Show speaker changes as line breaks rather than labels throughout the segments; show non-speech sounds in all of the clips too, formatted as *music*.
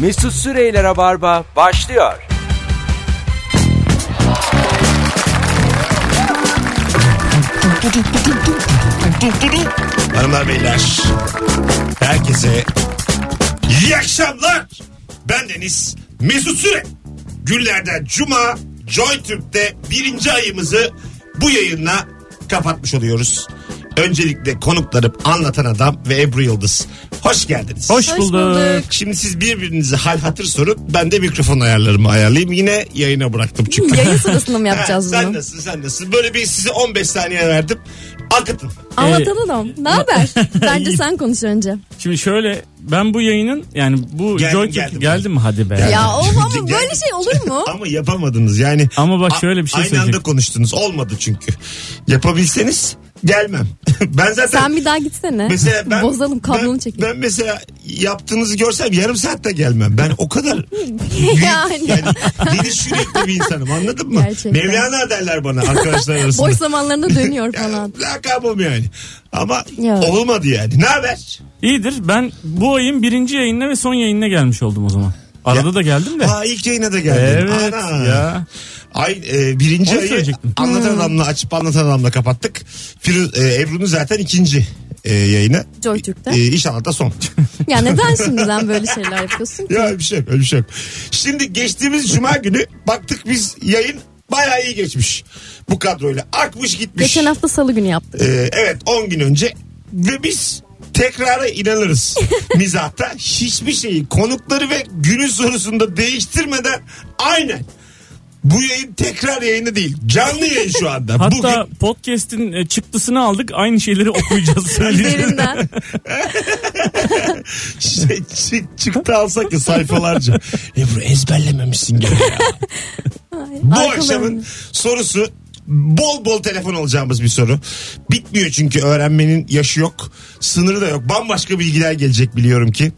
Mesut Süreyle Rabarba başlıyor.
Hanımlar beyler. Herkese iyi akşamlar. Ben Deniz Mesut Süre. Günlerden Cuma Joy Türk'te birinci ayımızı bu yayınla kapatmış oluyoruz. Öncelikle konuklarım Anlatan Adam ve Ebru Yıldız. Hoş geldiniz.
Hoş bulduk.
Şimdi siz birbirinize hal hatır sorup ben de mikrofon ayarlarımı ayarlayayım. Yine yayına bıraktım *laughs* çünkü.
Yayın sırasında mı
Ha,
yapacağız
sen
bunu?
nasılsın sen nasılsın? Böyle bir size 15 saniye verdim. Akıtın.
Anlatalım. Ne haber? Bence sen konuş önce.
Şimdi şöyle ben bu yayının yani bu
Geldim,
Joy Türk-
geldim.
geldi mi hadi be.
Geldim.
Ya o ama
Gel-
böyle şey olur mu?
Ama yapamadınız yani.
Ama bak
A-
şöyle bir şey
Aynı anda
söyleyeceğim.
konuştunuz. Olmadı çünkü. Yapabilseniz gelmem. *laughs* ben zaten
Sen bir daha gitsene.
mesela
*laughs*
ben,
Bozalım kablonu
ben-
çekin.
Ben mesela yaptığınızı görsem yarım saatte gelmem. Ben
*laughs*
o kadar büyük, yani,
Yani.
geniş yürekli bir insanım anladın mı?
Gerçekten.
Mevlana derler
*laughs*
bana arkadaşlar arasında.
Boş zamanlarında dönüyor falan.
Yani, lakabım yani. Ama
Ya.
olmadı yani. Ne haber?
İyidir ben bu ayın birinci yayınına ve son yayınına gelmiş oldum o zaman. Arada
Ya-
da geldim de.
Aa ilk yayına da geldin.
Evet
Ana.
ya. Hmm.
Ay e, birinci
Onu
ayı
söyleyecektim.
anlatan adamla açıp anlatan adamla kapattık. Firuz, e, Ebru'nun zaten ikinci e, yayını.
Joytürk'te.
E, inşallah
*laughs*
da son.
Ya neden şimdiden böyle şeyler yapıyorsun ki?
ya öyle bir şey yok öyle bir şey yok. Şimdi geçtiğimiz cuma günü baktık biz yayın bayağı iyi geçmiş. Bu kadroyla akmış gitmiş.
Geçen hafta salı günü yaptık.
Ee, evet 10 gün önce ve biz tekrara inanırız. Mizahta hiçbir şeyi konukları ve günün sorusunda değiştirmeden aynen. Bu yayın tekrar yayını değil. Canlı yayın şu anda.
Hatta podcast'in e, çıktısını aldık aynı
*laughs*
şeyleri okuyacağız söyleyeceğiz.
Üzerinden.
şey, çı- çıktı alsak ya sayfalarca. Ebru ezberlememişsin gene ya. Bu
arkalarını.
akşamın sorusu bol bol telefon alacağımız bir soru. Bitmiyor çünkü öğrenmenin yaşı yok. Sınırı da yok. Bambaşka bilgiler gelecek biliyorum ki.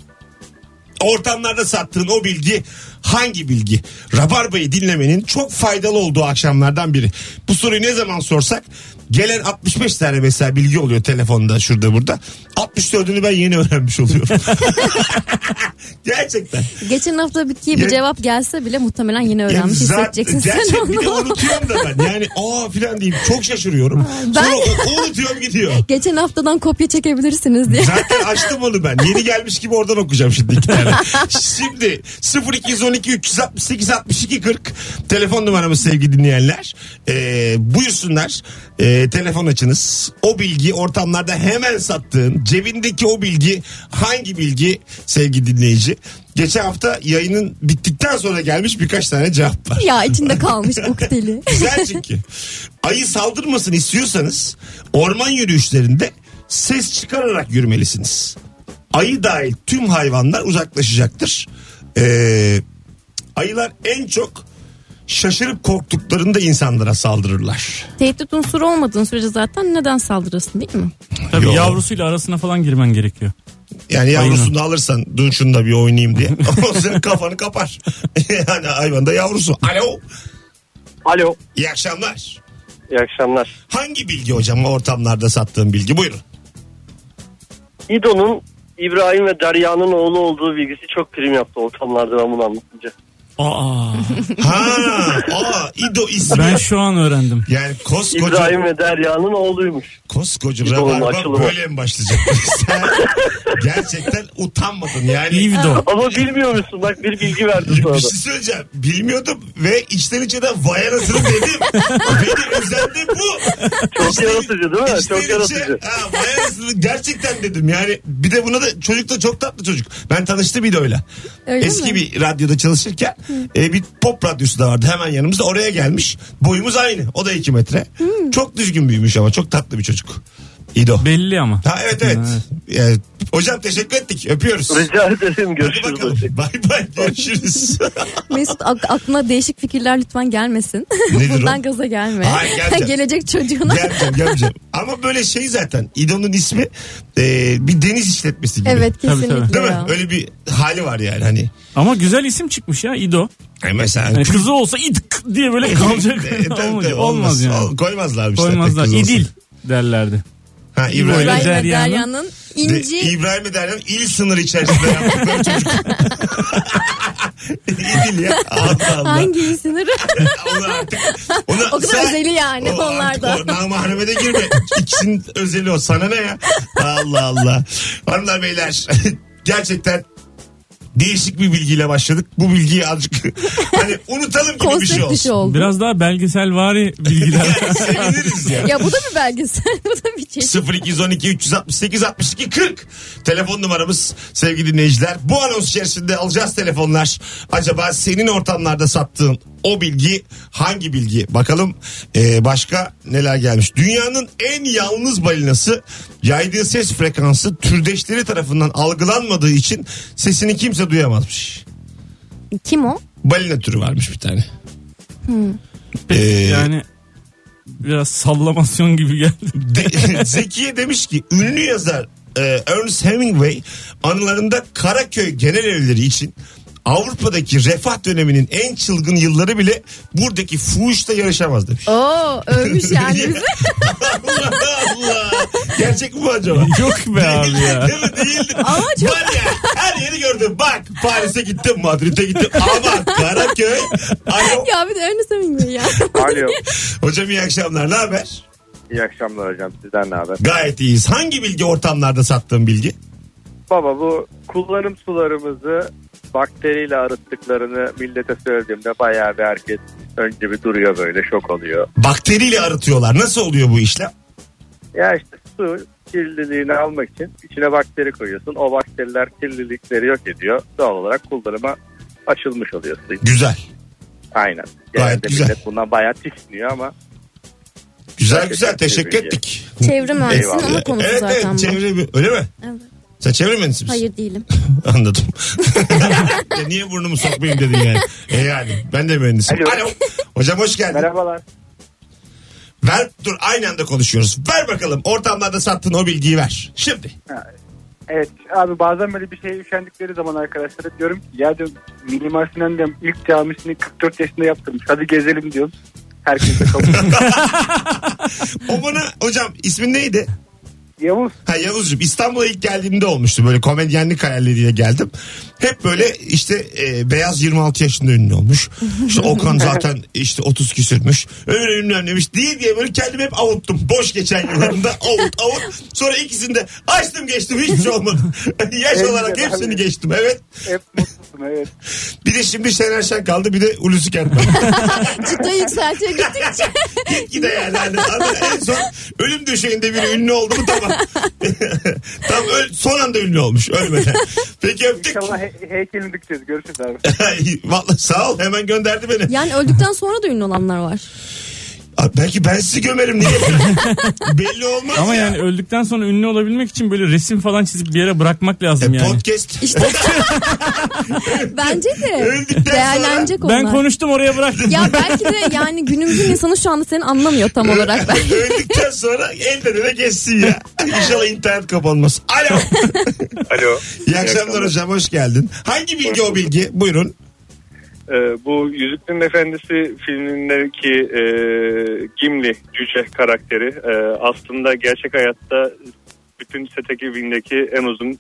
Ortamlarda sattığın o bilgi hangi bilgi? Rabarba'yı dinlemenin çok faydalı olduğu akşamlardan biri. Bu soruyu ne zaman sorsak gelen 65 tane mesela bilgi oluyor telefonda şurada burada. 64'ünü ben yeni öğrenmiş oluyorum. Gerçekten.
Geçen hafta bitkiye
Ya-
bir cevap gelse bile muhtemelen yine
Ya
öğrenmiş
zaten-
hissedeceksin sen
gerçekten bir de
onu.
unutuyorum da
*laughs*
ben. Yani aa filan deyip çok şaşırıyorum.
Ben-
Sonra o- unutuyorum gidiyor.
Geçen haftadan kopya çekebilirsiniz diye.
Zaten açtım onu ben. Yeni gelmiş gibi oradan okuyacağım şimdi iki tane. Şimdi 0212 368 62 40 telefon numaramız sevgili dinleyenler. Ee, buyursunlar. Ee, telefon açınız. O bilgi ortamlarda hemen sattığın cebindeki o bilgi hangi bilgi sevgili dinleyici? Geçen hafta yayının bittikten sonra gelmiş birkaç tane cevap var.
Ya içinde kalmış ukteli.
Güzel çünkü. Ayı saldırmasın istiyorsanız orman yürüyüşlerinde ses çıkararak yürümelisiniz. Ayı dahil tüm hayvanlar uzaklaşacaktır. Ee, ayılar en çok şaşırıp korktuklarında insanlara saldırırlar.
Tehdit unsuru olmadığın sürece zaten neden saldırırsın değil mi?
Tabii
Yo.
yavrusuyla arasına falan girmen gerekiyor.
Yani yavrusunu da alırsan dur şunu da bir oynayayım diye. O senin kafanı kapar. *laughs* yani hayvan da yavrusu. Alo.
Alo.
İyi akşamlar.
iyi akşamlar.
Hangi bilgi hocam ortamlarda sattığın bilgi? Buyurun.
İdo'nun İbrahim ve Derya'nın oğlu olduğu bilgisi çok prim yaptı ortamlarda ben bunu anlatınca.
Aa
Ha, aa, İdo
*laughs*
ismi.
ben şu an öğrendim.
Yani koskoca
İbrahim ve Derya'nın
*laughs*
oğluymuş.
koskoca
İdo'nun
rabarba
açılımı.
böyle mi başlayacak? *laughs* Sen gerçekten utanmadın yani.
İvido.
Ama bilmiyor musun? Bak bir bilgi verdi
Bir
sonra.
şey söyleyeceğim. Bilmiyordum ve içten içe de vay anasını dedim. Beni özendi bu.
Çok
İçten-
yaratıcı değil mi?
içten
Çok
içe,
yaratıcı.
şey, Ha, vay anasını gerçekten dedim. Yani bir de buna da çocuk da çok tatlı çocuk. Ben tanıştım İdo'yla.
Öyle
Eski
mi?
bir radyoda çalışırken e, bir pop radyosu da vardı hemen yanımızda. Oraya gelmiş. Boyumuz aynı. O da 2 metre. Çok düzgün büyümüş ama çok tatlı bir çocuk. İdo.
Belli ama.
Ha evet evet. Yani, hocam teşekkür ettik. Öpüyoruz.
Rica ederim
Hadi bakalım.
görüşürüz.
Bay
*laughs*
bay görüşürüz.
Mesut ak- aklına değişik fikirler lütfen gelmesin.
Nedir o?
*laughs* Buradan gaza gelme.
Hayır,
*laughs*
gelmeyeceğim.
Gelecek çocuğuna.
gelmeyeceğim gelmeyeceğim. Ama böyle şey zaten İdo'nun ismi e, bir deniz işletmesi gibi.
evet
Tabii,
kesinlikle.
tabii.
Değil
ya.
mi? Öyle bir hali var yani hani.
Ama güzel isim çıkmış ya İdo.
Yani mesela
*laughs*
*laughs*
Yani kızı olsa İdk diye böyle kalacak.
E, tabii, tabii,
olmaz, olmaz yani.
Ol- Koymazlarmış. zaten
Koymazlar.
kız olsa.
İdil derlerdi.
Ha, İbrahim,
İbrahim
İbrahim ve
Derya'nın-
Derya'nın
De-
inci
İbrahim ve Derya'nın il sınırı
*laughs*
içerisinde yaptıkları çocuk. *laughs* İdil ya. Allah Allah.
*laughs* hangi
*laughs*
sınırı?
Onu artık, onu
O kadar özeli yani
o
onlar da.
artık o namahremede girme. İkisinin özeli o. Sana ne ya? Allah Allah. Hanımlar beyler *laughs* gerçekten değişik bir bilgiyle başladık. Bu bilgiyi azıcık *laughs* hani unutalım gibi bir şey
konsept
olsun.
dışı oldu.
Biraz daha belgeselvari bilgiler.
Yani
*laughs*
seviniriz ya.
Ya bu da bir belgesel. *laughs* bu da bir çeşit.
0212 368 62 40 telefon numaramız sevgili dinleyiciler. Bu anons içerisinde alacağız telefonlar. Acaba senin ortamlarda sattığın o bilgi hangi bilgi? Bakalım e, başka neler gelmiş. Dünyanın en yalnız balinası yaydığı ses frekansı türdeşleri tarafından algılanmadığı için sesini kimse duyamazmış.
Kim o?
Balina türü varmış bir tane.
Peki,
Ee,
yani biraz sallamasyon gibi geldi.
De- *laughs* Zekiye demiş ki ünlü yazar e, Ernest Hemingway anılarında Karaköy genel evleri için Avrupa'daki refah döneminin en çılgın yılları bile buradaki fuhuşla yarışamaz demiş.
Oo
*laughs*
övmüş yani bizi.
Allah Allah. Gerçek mi bu acaba?
Yok be abi ya.
*laughs* Değil mi? Değildir.
Ama çok-
Var ya her yeri gördüm. Bak Paris'e gittim, Madrid'e gittim. Ama Karaköy. Alo.
ya bir de Ernest Hemingway *laughs* ya.
Alo.
Hocam iyi akşamlar. Ne haber?
İyi akşamlar hocam. Sizden ne haber?
Gayet iyiyiz. Hangi bilgi ortamlarda sattığın bilgi?
Baba bu kullanım sularımızı bakteriyle arıttıklarını millete söylediğimde bayağı bir herkes önce bir duruyor böyle şok oluyor.
Bakteriyle arıtıyorlar. Nasıl oluyor bu işlem?
Ya işte su kirliliğini almak için içine bakteri koyuyorsun. O bakteriler kirlilikleri yok ediyor. Doğal olarak kullanıma açılmış oluyor su.
Güzel.
Aynen.
Gayet
Genelde
güzel.
millet bundan bayağı tiksiniyor ama
Güzel
Teşekkür
güzel teşekkür
ederim.
ettik.
Çevre mühendisinin
Eyvallah.
ana konusu
evet
zaten
evet
bu.
çevre mi- öyle mi?
Evet.
Sen çevre mühendisi misin?
Hayır değilim.
*laughs* Anladım. *laughs* Ya Niye burnumu sokmayayım dedin yani. E yani ben de mühendisim. Alo.
Alo.
Hocam hoş geldin.
merhabalar.
Ver dur aynı anda konuşuyoruz. Ver bakalım ortamlarda sattığın o bilgiyi ver. Şimdi.
Evet abi bazen böyle bir şeye üşendikleri zaman arkadaşlara diyorum ki ya diyorum Mimar Sinan diyorum ilk camisini 44 yaşında yaptırmış hadi gezelim diyorum. Herkes de
*laughs*
kabul ediyor.
O bana hocam ismin neydi?
Yavuz
Ha Yavuzcuğum İstanbul'a ilk geldiğimde olmuştu böyle komedyenlik hayalleriyle geldim. Hep böyle işte e, Beyaz 26 yaşında ünlü olmuş. İşte
*laughs*
Okan zaten işte 30 küsürmüş. Öbür ünlü demiş değil diye böyle kendimi hep avuttum. Boş geçen
*laughs*
yıllarında avut avut. Sonra ikisini de açtım geçtim hiçbir şey olmadı. *laughs* Yaş
Evet,
olarak
güzel
hepsini
abi.
geçtim evet.
hep mutlusun evet.
Bir de şimdi Şener Şen kaldı bir de Hulusi Kentmen.
Ciddi yükseltiye gittikçe.
*laughs* Gitgide yani. Hani adam en son ölüm döşeğinde biri ünlü oldu mu tamam. *laughs* Tam öl, son anda ünlü olmuş ölmeden. Peki öptük. *laughs*
İnşallah he- heykelini dikeceğiz görüşürüz abi.
Vallahi sağ ol hemen gönderdi beni.
yani öldükten sonra da ünlü olanlar
*laughs*
var.
Abi belki ben sizi gömerim niye?
*laughs*
Belli olmaz
Ama
ya.
yani öldükten sonra ünlü olabilmek için böyle resim falan çizip bir yere bırakmak lazım
E,
yani.
Podcast.
İşte bence de
Öldükten sonra-
değerlenecek onlar.
Ben konuştum
*laughs*
oraya bıraktım.
Ya belki de yani günümüzün insanı şu anda seni anlamıyor tam olarak.
*laughs* Öldükten sonra elden ele geçsin ya. İnşallah internet kapanmaz. Alo.
Alo.
İyi akşamlar hocam hoş geldin. Hangi bilgi o bilgi? Buyurun.
Ee, bu Yüzüklerin Efendisi filmindeki e, Gimli cüce karakteri e, aslında gerçek hayatta bütün seteki bindeki en uzun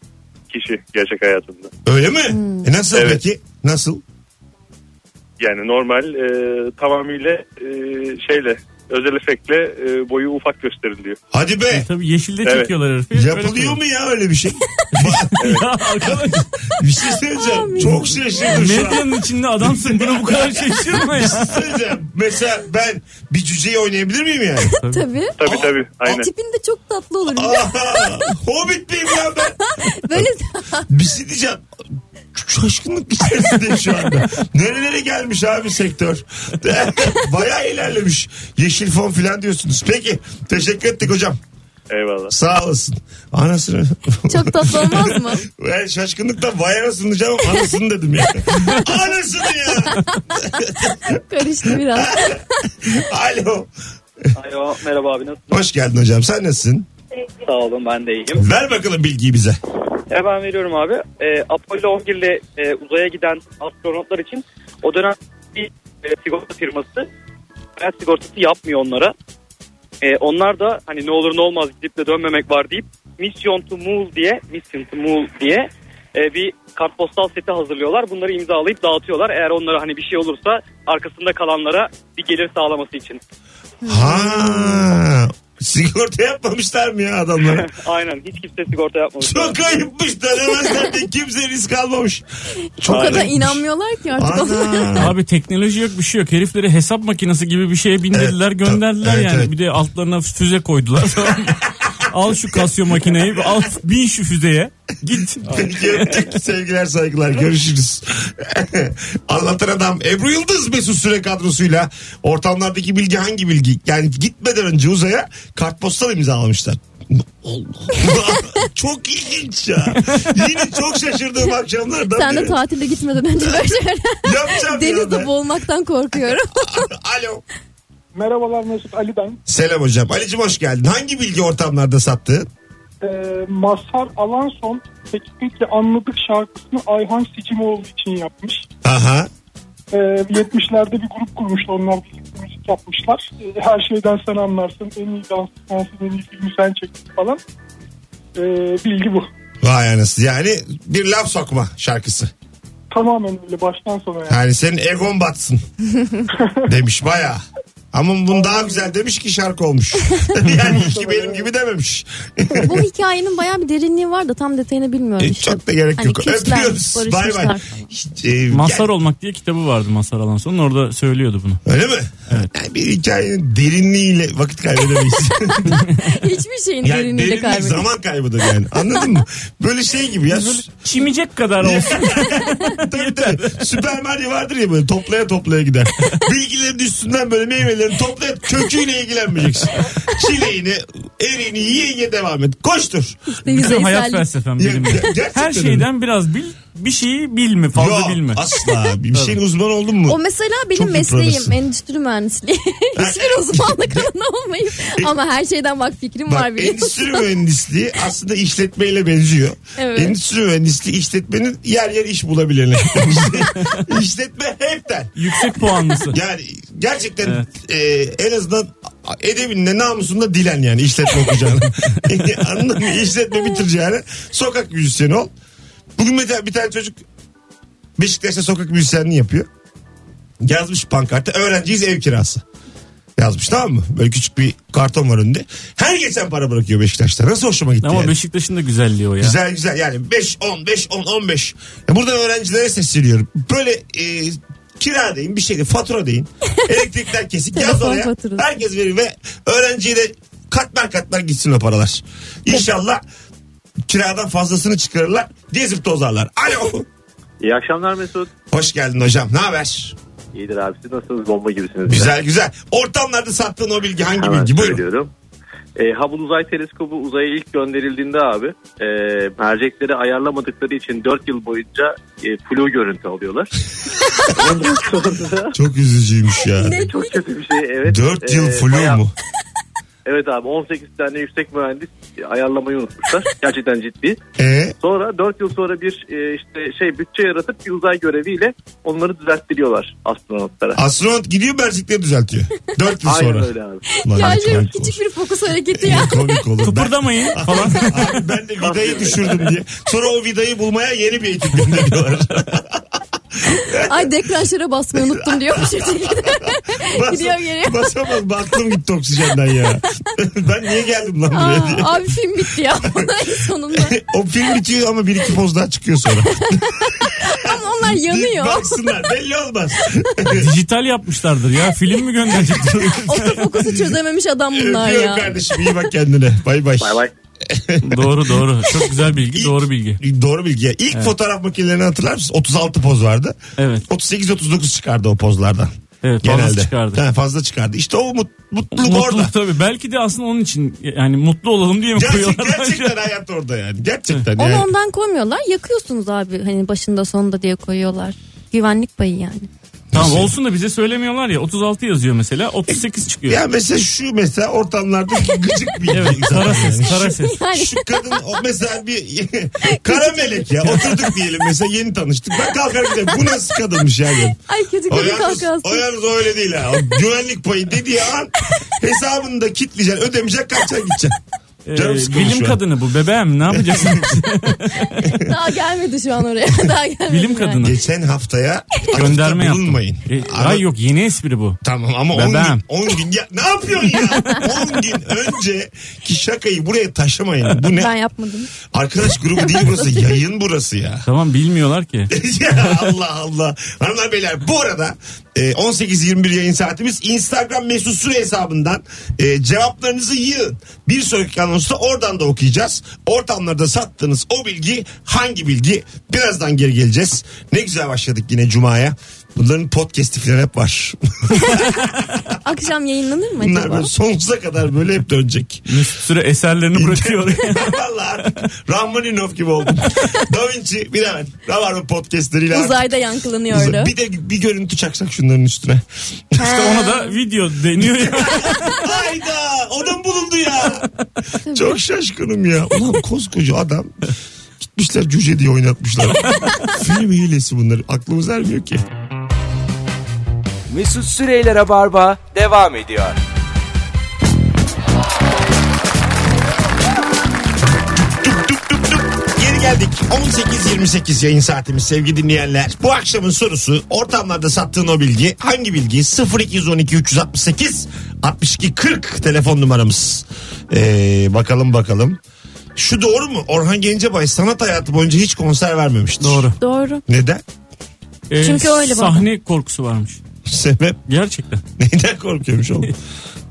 kişi gerçek hayatında.
Öyle mi?
Hmm.
E nasıl
Evet.
peki? Nasıl?
Yani normal e, tamamıyla e, şeyle özel efektle e, boyu ufak gösteriliyor.
Hadi be.
E, Tabii yeşilde
Evet.
çekiyorlar herifi. Böyle
Yapılıyor
koyuyor.
mu ya öyle bir şey?
*laughs* Ya arkadaş
bir şey söyleyeceğim. Çok şaşırdım şu an. şey
medyanın içinde adamsın buna bu kadar şaşırma ya.
Söyleyeceğim. Mesela ben bir cüceyi oynayabilir miyim yani?
*laughs* *laughs* Tabii.
Tabii tabii
O
aynen.
tipin de çok tatlı olur.
Aha, Hobbit miyim ya ben?
Böyle
Bir şey diyeceğim. Şaşkınlık içerisindeyim şu anda. Nerelere gelmiş abi sektör? *laughs* Bayağı ilerlemiş. Yeşil fon filan diyorsunuz. Peki. Teşekkür ettik hocam.
Eyvallah.
Sağ olasın. Anasını.
*laughs*
*laughs*
çok tatlı olmaz mı?
Ben şaşkınlıktan vay anasını diyeceğim ama anasını dedim ya. anasını ya.
Karıştı biraz.
Alo.
Alo merhaba abi nasılsın?
Hoş geldin hocam. Sen nasılsın?
Sağ olun ben de iyiyim.
Ver bakalım bilgiyi bize.
Hemen veriyorum abi.
Ee,
Apollo 11 ile
e,
uzaya giden astronotlar için
e,
o dönem bir sigorta firması hayat sigortası yapmıyor onlara.
E, onlar da hani ne olur ne olmaz gidip de dönmemek var deyip Mission to Mool diye Mission to Mool *laughs* diye e, bir kartpostal seti hazırlıyorlar. Bunları imzalayıp dağıtıyorlar. Eğer onlara hani bir şey olursa arkasında kalanlara bir gelir sağlaması için.
Ha. Sigorta yapmamışlar mı ya adamlar?
*laughs* Aynen hiç kimse sigorta yapmamış.
Çok ayıpmış denemezler de kimse risk almamış.
O kadar
ayıpmış.
inanmıyorlar ki artık.
*laughs*
Ana.
Abi teknoloji yok bir şey yok. Herifleri hesap makinesi gibi bir şeye bindirdiler
Evet,
gönderdiler
evet,
yani.
evet.
Bir de altlarına füze koydular. Tamam
*laughs*
mı? al şu kasyo makineyi al bin şu füzeye. Git.
Peki öptük. Sevgiler saygılar. Görüşürüz. *laughs* Anlatan adam Ebru Yıldız Mesut Süre kadrosuyla ortamlardaki bilgi hangi bilgi? Yani gitmeden önce uzaya kartpostal imzalamışlar. Allah. *laughs* çok ilginç ya. Yine çok şaşırdığım akşamlardan
Sen de
biri.
tatilde gitmeden önce böyle
*laughs*
şeyler.
Yapacağım ya ben.
Denizde boğulmaktan korkuyorum. *laughs*
Alo.
Merhabalar Mesut Ali ben.
Selam hocam. Ali'cim hoş geldin. Hangi bilgi ortamlarda sattı?
Ee, Mazhar Alanson Teknikle Anladık şarkısını Ayhan Sicimoğlu için yapmış.
Aha.
Ee, 70'lerde bir grup kurmuşlar. Onlar birlikte müzik yapmışlar. Ee, Her şeyden sen anlarsın. En iyi dans sensin, en iyi filmi sen çektin falan. Ee, bilgi bu.
Vay anasını. Yani bir laf sokma şarkısı.
Tamamen öyle baştan sona yani.
Yani senin egon batsın. demiş baya. Ama bunu daha güzel demiş ki şarkı olmuş. yani iki benim gibi dememiş.
Bu hikayenin bayağı bir derinliği var da tam detayını bilmiyorum.
E,
işte.
Çok da gerek
Hani
yok.
küsler,
Öpüyoruz. Bay bay.
barışmışlar.
Hiç, e,
Masar
gel-
olmak diye kitabı vardı Masar Alanson'un orada söylüyordu bunu.
Öyle mi? Yani bir hikayenin derinliğiyle vakit kaybedemeyiz.
*laughs* Hiçbir şeyin
yani
derinliğini
derinlik
de kaybediyor.
zaman kaybıdır yani. Anladın mı? Böyle şey gibi ya.
Çimecek kadar
*laughs*
olsun.
tabii tabii. Süper Mario vardır ya böyle toplaya
*laughs*
toplaya gider. Bilgilerin üstünden böyle meyvelerini toplayıp köküyle ilgilenmeyeceksin. Çileğini, erini yiye yiye devam et. Koştur.
Bizim hayat
Yüzeysellik.
felsefem
Ya,
benim.
ya- gerçekten
Her şeyden biraz bil, bir şeyi bilme, fazla
Yok,
bilme.
Asla. Bir şeyin uzmanı oldun mu?
O mesela benim
Çok yıpranırsın.
mesleğim endüstri mühendisliği. *laughs* Hiçbir
*laughs*
uzmanlık alanı olmayıp ama her şeyden bak fikrim
E- Bak,
var biliyorsun.
endüstri mühendisliği aslında işletmeyle benziyor.
Evet.
Endüstri mühendisliği işletmenin yer yer iş
*laughs*
bulabileni. İşletme hepten.
Yüksek puanlısı.
Yani gerçekten e, en azından edebinle namusunda dilen yani işletme okuyacağını. Anladın mı? İşletme bitireceğini. Sokak müzisyeni ol. Bugün mesela bir tane çocuk Beşiktaş'ta sokak müzisyenliği yapıyor. Yazmış pankartta öğrenciyiz ev kirası. Yazmış tamam mı? Böyle küçük bir karton var önünde. Her geçen para bırakıyor Beşiktaş'ta. Nasıl hoşuma gitti
Ama
yani.
Beşiktaş'ın da güzelliği o ya.
Güzel güzel yani 5 10 5 10 15. Ya Burada öğrencilere sesleniyorum. Böyle e, kira deyin bir şey deyin
*laughs*
fatura deyin. Elektrikler kesik yaz
Telefon
oraya.
faturası.
Herkes verir ve öğrenciye de katlar katlar gitsin o paralar. İnşallah kiradan fazlasını çıkarırlar. Gezip tozarlar. Alo.
İyi akşamlar Mesut.
Hoş geldin hocam. Ne haber?
İyidir abi siz nasılsınız? Bomba gibisiniz.
Güzel güzel. Ortamlarda sattığın o bilgi hangi
Hemen
bilgi? Buyurun.
söylüyorum. E, Hubble Uzay Teleskobu uzaya ilk gönderildiğinde abi e, mercekleri ayarlamadıkları için 4 yıl boyunca e, flu görüntü alıyorlar. Ondan sonra
Çok üzücüymüş
*laughs*
ya.
Ne-
çok kötü bir şey evet.
4
E,
yıl flu
bayağı-
mu?
Evet abi 18 tane yüksek mühendis ayarlamayı unutmuşlar. *laughs* Gerçekten ciddi.
E?
Sonra 4 yıl sonra bir e, işte şey bütçe yaratıp bir uzay göreviyle onları düzelttiriyorlar astronotlara.
Astronot gidiyor mercekleri düzeltiyor. 4 yıl
Aynen
sonra.
öyle abi.
Lan
Ya
ne
şöyle
komik
şey,
olur.
küçük bir fokus hareketi
*laughs*
ya.
Komik
*laughs*
olur. Ben-
Kıpırdamayın falan.
*laughs* Abi ben de vidayı düşürdüm diye. Sonra o vidayı bulmaya yeni bir
*laughs*
ekip gönderiyorlar.
Ay dekranşlara basmayı unuttum
*laughs*
diyor bu şekilde.
Bas-
Gidiyor geliyor.
Basamaz baktım gitti oksijenden ya. *laughs* ben niye geldim lan buraya diye.
Aa, abi film bitti ya *laughs* En sonunda.
O film bitiyor ama bir iki poz daha çıkıyor sonra.
Ama onlar *laughs* yanıyor.
Baksınlar belli olmaz.
Dijital yapmışlardır ya. Film mi gönderecek?
*laughs*
Otofokusu çözememiş adam *laughs* bunlar
Öpüyorum
ya.
kardeşim iyi bak kendine. Bay bay.
Bay bay.
*laughs*
doğru doğru. Çok güzel bilgi. Doğru bilgi.
Doğru bilgi. ya. İlk fotoğraf makinelerini hatırlar mısın? 36 poz vardı.
Evet.
38-39 çıkardı o pozlardan.
Evet.
Genelde.
Genelde. çıkardı.
Ha, fazla çıkardı. İşte o mut- mutluluk orada.
Mutlu tabii. Belki de aslında onun için yani mutlu olalım diye mi
Gerçek,
koyuyorlar?
gerçekten hayat orada yani. Gerçekten
Onu
yani.
ondan koymuyorlar. Yakıyorsunuz abi hani başında sonunda diye koyuyorlar. Güvenlik payı yani.
*laughs* tamam olsun da bize söylemiyorlar ya. 36 yazıyor mesela. 38 çıkıyor.
Ya mesela şu mesela ortamlarda gıcık bir *laughs*
evet.
insan
Kara ses.
yani.
Kara ses.
Yani
*laughs* Şu kadın o mesela bir *laughs* kara melek ya oturduk diyelim mesela yeni tanıştık. Ben kalkar giderim. Bu nasıl kadınmış yani?
ay kötü
O
kötü
yalnız, o
kalkarsın.
yalnız öyle değil ha. O güvenlik payı dediği an Hesabını da kitleyeceksin. Ödemeyeceksin kaçacaksın gideceksin.
*laughs* Ee,
*laughs* Canım sıkılmış
bilim
şu an.
kadını bu bebeğim ne
*laughs*
yapacaksın?
Daha gelmedi şu an oraya. *laughs* Daha gelmedi.
bilim
yani.
kadını.
Geçen haftaya atıfta
Gönderme yaptım.
bulunmayın.
E,
Ara-
ay yok yeni espri bu.
Tamam ama
Ben-
10
ben.
gün, 10 gün ya, ne yapıyorsun ya? 10 gün önce ki şakayı buraya taşımayın. Bu
Ben
ne?
yapmadım.
Arkadaş grubu değil burası. Yayın burası ya. *laughs*
Tamam bilmiyorlar ki.
ya Allah Allah. Hanımlar beyler bu arada e, 18-21 yayın saatimiz Instagram mesut süre hesabından e, cevaplarınızı yığın. Bir sonraki anonsu da oradan da okuyacağız. Ortamlarda sattığınız o bilgi hangi bilgi? Birazdan geri geleceğiz. Ne güzel başladık yine Cuma'ya. Bunların podcast'i falan hep var.
Akşam yayınlanır mı
Bunlar
acaba?
böyle sonsuza kadar böyle hep dönecek. *laughs*
Mesut Süre eserlerini bırakıyor.
Vallahi artık Rahmaninov gibi oldum. da Vinci bilemem. Rabarba podcastleriyle artık
Uzayda yankılanıyordu.
Bir de bir görüntü çaksak şunların üstüne.
işte ona da video deniyor ya.
*laughs* Hayda adam bulundu ya. Çok şaşkınım ya. Ulan koskoca adam gitmişler cüce diye oynatmışlar. Film hilesi bunlar. Aklımız ermiyor ki.
Mesut Süreyler'e barba devam ediyor.
Geri geldik. 18.28 yayın saatimiz sevgili dinleyenler. Bu akşamın sorusu ortamlarda sattığın o bilgi hangi bilgi? 0212 368 62 40 telefon numaramız. Ee, bakalım bakalım. Şu doğru mu? Orhan Gencebay sanat hayatı boyunca hiç konser vermemiştir.
Doğru.
Doğru.
Neden? *laughs*
Ee,
Çünkü öyle baba.
Sahne korkusu varmış.
Sebep
Gerçekten.
neyden korkuyormuş oğlum?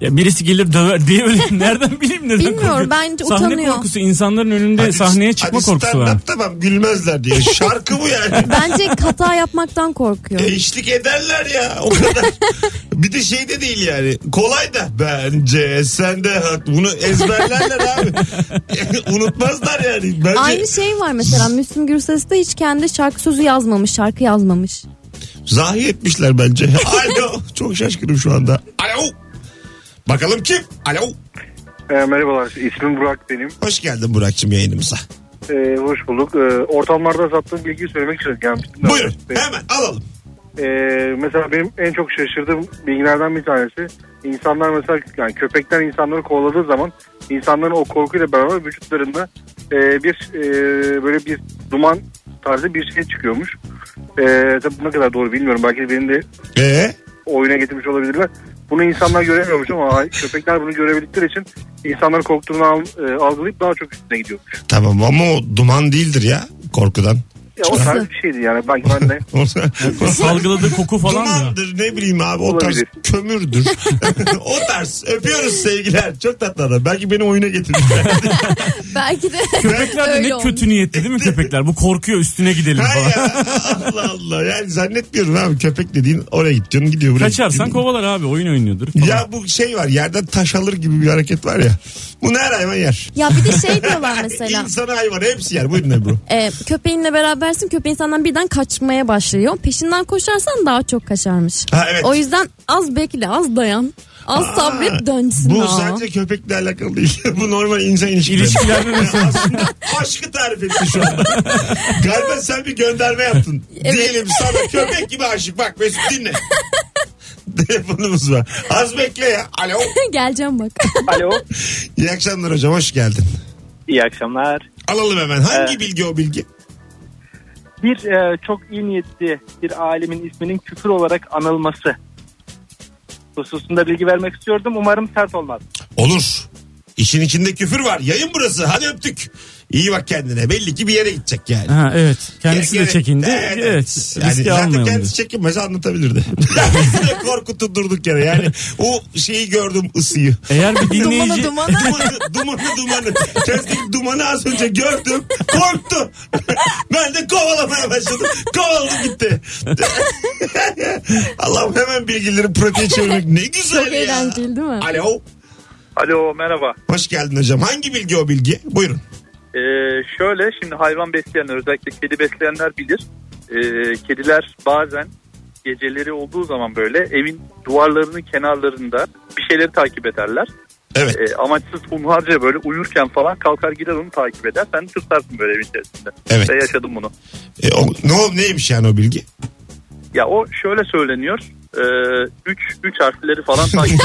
Ya birisi gelir döver
*laughs*
diye öyle nereden bileyim nereden
Bilmiyorum,
korkuyor?
bence
sahne
utanıyor.
korkusu insanların önünde *laughs* sahneye çıkma
hadi
korkusu var.
stand-up tamam gülmezler diye. Şarkı bu yani.
Bence hata yapmaktan korkuyor.
E, eşlik ederler ya o kadar. bir de şey de değil yani. Kolay da. Bence sen de haklı. Bunu ezberlerler abi. Unutmazlar yani. Bence
Aynı şey var mesela Müslüm Gürses de hiç kendi şarkı sözü yazmamış, şarkı yazmamış.
zahi etmişler bence. Alo. Çok şaşkınım şu anda. Alo. Bakalım kim? Alo.
Ee, merhabalar ismim Burak benim.
Hoş geldin Burak'cığım yayınımıza.
Ee, hoş bulduk. Ee, ortamlarda sattığım bilgiyi söylemek için gelmiştim.
Buyurun
Ee,
hemen alalım.
Ee, mesela benim en çok şaşırdığım bilgilerden bir tanesi insanlar mesela yani köpekler insanları kovaladığı zaman insanların o korkuyla beraber vücutlarında e, bir e, böyle bir duman tarzı bir şey çıkıyormuş. E, tabii bu ne kadar doğru bilmiyorum. Belki beni de
Ee,
oyuna getirmiş olabilirler. Bunu insanlar göremiyormuş ama hay- köpekler bunu görebildikleri için insanların korktuğunu al- e, algılayıp daha çok üstüne gidiyormuş.
tamam ama o duman değildir ya korkudan.
Ya o tarz bir şeydi yani. Belki ben de
*laughs* Salgıladığı koku falan mı?
Dumandır ne bileyim abi o tarz
Olabilir.
kömürdür. o tarz öpüyoruz sevgiler. Çok tatlı adam. Belki beni
*laughs*
oyuna getirmişler.
Belki de
Köpekler de
öyle
ne
olmuş.
kötü niyetli değil mi köpekler? Bu korkuyor üstüne gidelim
Hay
falan.
ya, Allah Allah. Yani zannetmiyorum abi köpek dediğin oraya gidiyorsun gidiyor buraya.
Kaçarsan
gidiyor.
kovalar abi oyun oynuyordur. falan.
Ya bu şey var yerden taş alır gibi bir hareket var ya. Bunu her hayvan yer.
*laughs* Ya bir de şey diyorlar mesela.
İnsanı hayvanı hepsi yer. Buyurun Ebru.
e, köpeğinle berabersin köpeğin senden birden kaçmaya başlıyor. Peşinden koşarsan daha çok kaçarmış.
Ha, evet.
O yüzden az bekle, az dayan. Az
Aa,
sabret dönsün
Bu
o.
sadece köpekle alakalı değil. *laughs* bu normal insan ilişkileri.
İlişkilerde
*laughs*
nasıl?
Aslında aşkı tarif etti şu anda. Galiba sen bir gönderme yaptın.
Evet.
Diyelim sana köpek gibi aşık. Bak Mesut dinle. Telefonumuz var. Az bekle ya. Alo.
*laughs* Geleceğim bak.
Alo.
İyi akşamlar hocam. Hoş geldin.
İyi akşamlar.
Alalım hemen. Hangi
Ee,
bilgi o bilgi?
Bir e, çok iyi niyetli bir alimin isminin küfür olarak anılması hususunda bilgi vermek istiyordum. Umarım sert olmaz.
Olur. İşin içinde küfür var. Yayın burası. Hadi öptük. İyi bak kendine. Belli ki bir yere gidecek yani.
Ha, evet. Kendisi de
Gerek-
çekindi.
Evet.
Evet.
Yani
riski
zaten
almayalım. dedi.
kendisi çekinmese anlatabilirdi. *laughs* Bizi de korkuttu durduk yere. Yani o şeyi gördüm ısıyı.
Eğer bir
dumana
dinleyici
dumana.
E, dumanı dumanı dumanı. Kestik dumanı az önce gördüm. Korktu. ben de kovalamaya başladım. Kovaladı gitti. *laughs* Allah'ım hemen bilgileri pratiğe çevirmek ne güzel
Çok
ya.
eğlenceli değil mi?
Alo.
*laughs* Alo merhaba.
Hoş geldin hocam. Hangi bilgi o bilgi? Buyurun.
Ee, şöyle şimdi hayvan besleyenler özellikle kedi besleyenler bilir. Ee, kediler bazen geceleri olduğu zaman böyle evin duvarlarının kenarlarında bir şeyleri takip ederler.
Evet.
Ee, amaçsız hunharca böyle uyurken falan kalkar gider onu takip eder. Sen tırtarsın böyle evin içerisinde.
Evet.
Ve yaşadım bunu.
E, o, ne o- neymiş yani o bilgi?
Ya o şöyle söyleniyor. 3 3 harfleri
*laughs*
falan takip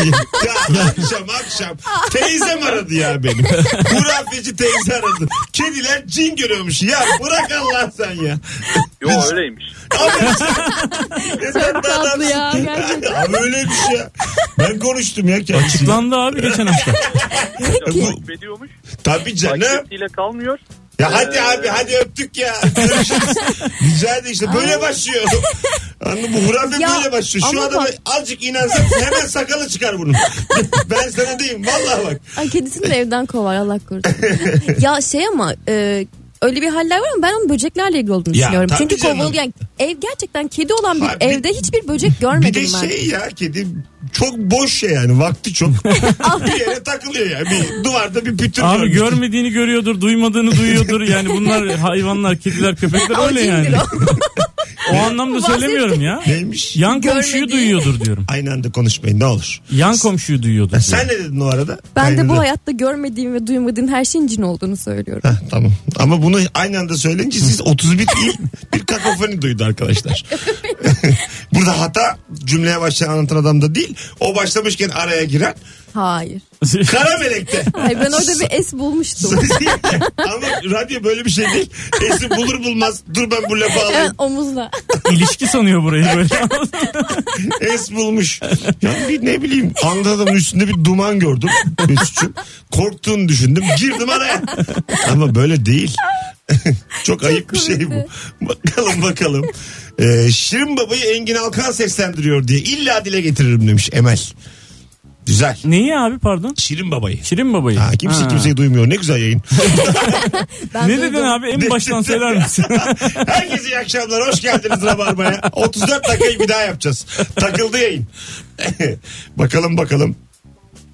ya akşam akşam teyzem aradı ya benim. Hurafeci teyze aradı. Kediler cin görüyormuş. Ya bırak Allah sen ya.
Yo öyleymiş.
Abi sen- ne sen de
tatlı
adamsın
ya,
ki?
gerçekten.
Abi öyleymiş ya. Ben konuştum ya kendisiyle.
Açıklandı abi geçen
*laughs*
hafta.
Bu,
Takip ediyormuş.
tabii canım.
Takipçiyle kalmıyor.
Ya hadi abi hadi öptük ya. Görüşürüz. Rica ederim işte böyle başlıyor. Anladın mı? Bu hurafe
Ya,
böyle başlıyor. Şu
ama
adama
bak-
azıcık inansan hemen sakalı çıkar bunun. *laughs* ben sana diyeyim vallahi bak.
Ay kedisini de evden kovar Allah
*laughs*
korusun. ya şey ama e, öyle bir haller var ama ben onun böceklerle ilgili olduğunu
Ya,
düşünüyorum.
tabii
Çünkü
canım.
kovul yani ev gerçekten kedi olan bir
Ha, bir-
evde hiçbir böcek
Bir
görmedim
de
ben.
şey ya kedi çok boş şey yani vakti çok.
*laughs*
bir yere takılıyor ya. Bir duvarda bir pütür
Abi
görmüştür.
görmediğini görüyordur, duymadığını duyuyordur. Yani bunlar hayvanlar,
*laughs*
kediler, köpekler öyle yani.
*laughs*
O anlamda söylemiyorum ya.
Neymiş?
Yan komşuyu
Görmediği.
duyuyordur diyorum.
Aynı anda konuşmayın ne olur.
Yan komşuyu duyuyordur.
Ha,
diyorum.
Sen ne dedin o arada?
Ben de
Aynı
bu
anda-
hayatta görmediğim ve duymadığım her şeyin cin olduğunu söylüyorum.
*laughs* Heh, tamam. Ama bunu aynı anda söyleyince siz 31 değil *laughs* bir kakofoni duydu arkadaşlar. *laughs* Burada hata cümleye başlayan anlatan adamda değil. O başlamışken araya giren
Hayır.
kara melekte.
Hayır ben orada bir es
*laughs*
bulmuştum.
Ama radyo böyle bir şey değil. Esi bulur bulmaz dur ben bu lafı alayım.
Evet, omuzla.
*laughs* İlişki sanıyor burayı böyle. *laughs*
Es bulmuş. Yani bir ne bileyim Ankara'nın üstünde bir duman gördüm. Mesut'cum. Korktuğunu düşündüm. Girdim araya. Ama böyle değil. *laughs* Çok ayıp bir şey bu.
komikti.
Bakalım bakalım. Ee, Şirin Baba'yı Engin Alkan seslendiriyor diye illa dile getiririm demiş Emel. Güzel.
Neyi abi pardon?
Şirin Baba'yı.
Şirin babayı.
Ha, kimse
Ha.
kimseyi duymuyor. Ne güzel yayın.
Ben
Ne
duydum.
dedin abi?
*laughs*
En baştan söyler misin?
Herkese iyi akşamlar. Hoş geldiniz Rabarba'ya. 34 dakikayı bir daha yapacağız. Takıldı yayın. *laughs* bakalım bakalım.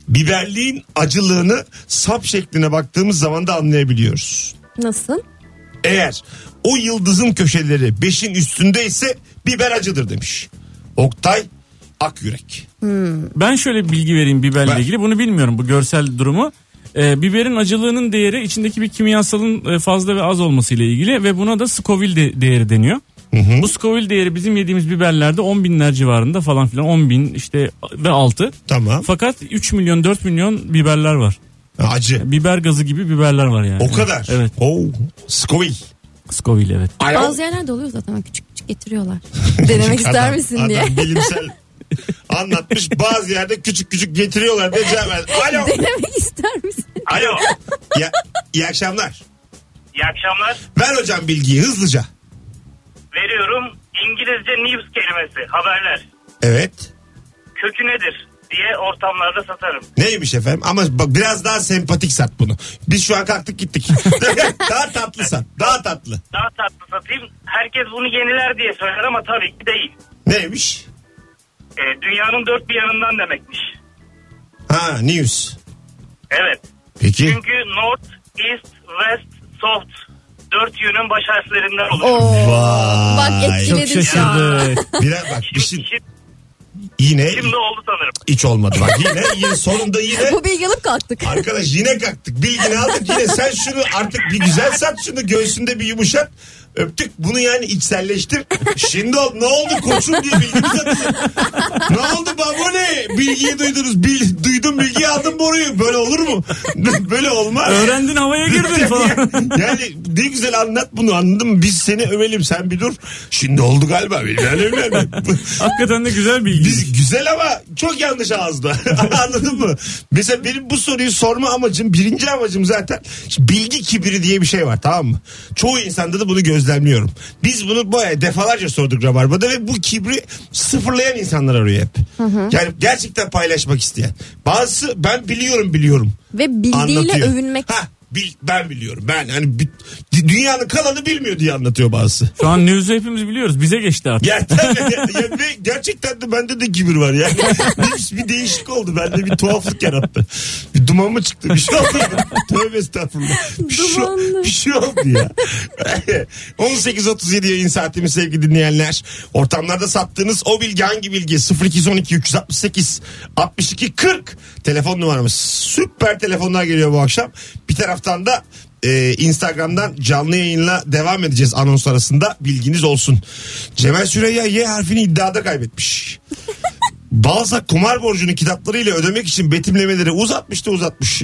Biberliğin acılığını sap şekline baktığımız zaman da anlayabiliyoruz.
Nasıl?
Eğer o yıldızın köşeleri 5'in üstünde ise biber acıdır demiş. Oktay Akyürek.
Ben şöyle bir bilgi vereyim biberle
Ver.
ilgili. Bunu bilmiyorum bu görsel durumu. Ee, biberin acılığının değeri içindeki bir kimyasalın e, fazla ve az olması ile ilgili ve buna da Scoville de- değeri deniyor. Bu Scoville değeri bizim yediğimiz biberlerde 10 binler civarında falan filan 10 bin işte ve altı.
Tamam.
Fakat 3 milyon 4 milyon biberler var.
Acı.
Biber gazı gibi biberler var yani.
O kadar.
Evet.
Oo. Scoville.
Scoville evet.
Ayol.
Bazı yerlerde oluyor zaten küçük küçük
*laughs*
getiriyorlar. Denemek ister
Adam-
misin
adam
diye. *laughs*
bilimsel anlatmış. Bazı yerde küçük küçük getiriyorlar diye cevap verdi. Alo.
Denemek ister misin?
Alo. *laughs* Ya, iyi akşamlar.
İyi akşamlar.
Ver hocam bilgiyi hızlıca.
Veriyorum İngilizce news kelimesi haberler.
Evet.
Kökü nedir diye ortamlarda satarım.
Neymiş efendim? Ama bak biraz daha sempatik sat bunu. Biz şu an kalktık gittik. *laughs* daha tatlı sat. Daha tatlı.
Daha tatlı satayım. Herkes bunu yeniler diye söyler ama tabii ki değil.
Neymiş?
Ee, dünyanın dört bir yanından demekmiş.
Ha news.
Evet.
Peki.
Çünkü North, East, West, South dört yönün baş harflerinden oluşuyor.
Oo.
Vay.
Bak
Çok
etkiledim şu an.
şaşırdı.
Biraz bak bir şey-
Şimdi, şimdi,
yine
şimdi oldu sanırım.
hiç olmadı. Bak yine, yine sonunda yine
Bu bilgi alıp kalktık.
Arkadaş yine kalktık. Bilgini aldık yine. Sen şunu artık bir güzel sat şunu. Göğsünde bir yumuşat. Öptük. Bunu yani içselleştir. Şimdi ol, ne oldu koçum diye bilgimiz atıyor. Ne oldu baba ne? Bilgiyi duydunuz. Bil, duydum bilgiyi aldım boruyu. Böyle olur mu? Böyle olmaz.
Öğrendin havaya girdin
*laughs*
falan.
yani ne güzel anlat bunu anladın mı? Biz seni övelim sen bir dur. Şimdi oldu galiba. Bilmem ne, bilmem ne.
Hakikaten de güzel bilgi.
Biz güzel ama çok yanlış ağızda. *laughs* Anladın mı? Mesela benim bu soruyu sorma amacım, birinci amacım zaten şimdi bilgi kibiri diye bir şey var tamam mı? Çoğu insanda da bunu gözlemliyorum. Biz bunu bayağı defalarca sorduk Rabarba'da ve bu kibri sıfırlayan insanlar arıyor hep. Yani gerçekten paylaşmak isteyen. Bazısı ben biliyorum biliyorum.
Ve bildiğiyle
Anlatıyor.
övünmek.
Ha, bil, ben biliyorum. Ben hani bi- dünyanın kalanı bilmiyor diye anlatıyor bazısı.
Şu an news'u hepimiz biliyoruz. Bize geçti artık.
Ya, tabii, ya, ya ve gerçekten de bende de kibir var yani. bir, bir değişik oldu. Bende bir tuhaflık yarattı. Bir duman mı çıktı? Bir şey oldu. Tövbe estağfurullah. Bir, şey,
Dumanlı.
bir şey oldu ya.
*laughs*
18.37 yayın saatimiz sevgili dinleyenler. Ortamlarda sattığınız o bilgi hangi bilgi? 0212 368 62 40 telefon numaramız. Süper telefonlar geliyor bu akşam. Bir taraftan da e, Instagram'dan canlı yayınla devam
*laughs*
edeceğiz anons arasında bilginiz olsun. Cemal Süreyya Y harfini iddiada kaybetmiş. Balzac kumar borcunu kitaplarıyla ödemek için betimlemeleri uzatmış da uzatmış.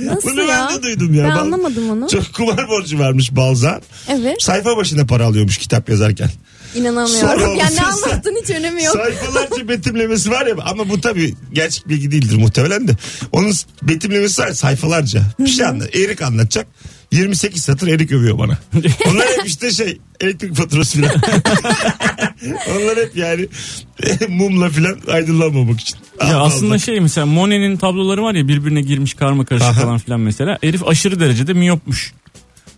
Nasıl
*laughs* Bunu
ya?
ben de duydum ya.
Ben
Bal-
anlamadım onu.
Çok kumar borcu varmış Balzac.
Evet.
Sayfa başına para alıyormuş kitap yazarken. Sonra
İnanamıyorum. Yani ne
olursa-
anlattığın hiç önemi yok.
Sayfalarca betimlemesi var ya ama bu tabii gerçek bilgi değildir muhtemelen de. Onun betimlemesi var ya, sayfalarca. Bir şey anlat. Erik anlatacak. 28 satır Erik övüyor bana. Onlar hep işte şey elektrik faturası filan. *laughs* Onlar hep yani *laughs* mumla filan aydınlanmamak için.
Ya
Allah
aslında
Allah.
şey mesela Monet'in tabloları var ya birbirine girmiş karma karışık
Aha.
falan filan mesela. Herif aşırı derecede miyopmuş.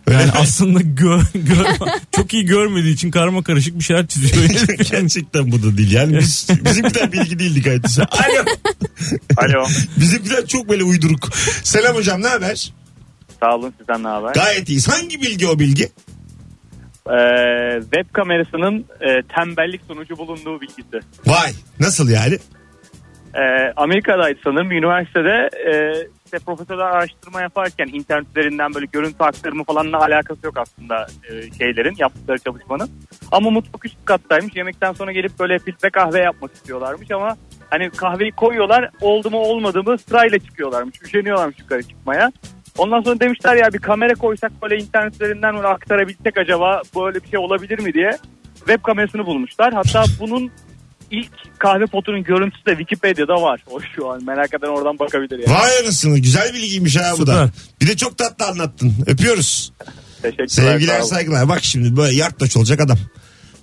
Öyle *laughs*
Yani
mi?
aslında gör, gör- çok iyi görmediği için karma karışık bir şeyler
*laughs*
çiziyor.
Gerçekten bu da değil yani biz, bizimkiler bilgi değildi kaydısı. Alo.
*laughs* *laughs* Alo.
Bizimkiler çok böyle uyduruk. Selam hocam ne haber?
Sağ olun sizden ne haber?
Gayet iyiyiz. Hangi bilgi o bilgi?
Ee, web kamerasının e, tembellik sonucu bulunduğu bilgisi.
Vay nasıl yani?
Ee, Amerika'daydı sanırım bir üniversitede e, işte profesörler araştırma yaparken internet üzerinden böyle görüntü aktarımı falanla alakası yok aslında e, şeylerin yaptıkları çalışmanın. Ama mutfak üst kattaymış yemekten sonra gelip böyle filtre kahve yapmak istiyorlarmış ama hani kahveyi koyuyorlar oldu mu olmadı mı sırayla çıkıyorlarmış üşeniyorlarmış yukarı çıkmaya. Ondan sonra demişler ya bir kamera koysak böyle internet üzerinden böyle aktarabilsek acaba böyle bir şey olabilir mi diye web kamerasını bulmuşlar. Hatta bunun ilk kahve potunun görüntüsü de Wikipedia'da var. O şu an merak eden oradan bakabilir yani.
Vay anasını güzel bilgiymiş ha bu da. Bir de çok tatlı anlattın. Öpüyoruz.
Teşekkürler.
Sevgiler
sağ olun.
saygılar. Bak şimdi böyle yarttaş olacak adam.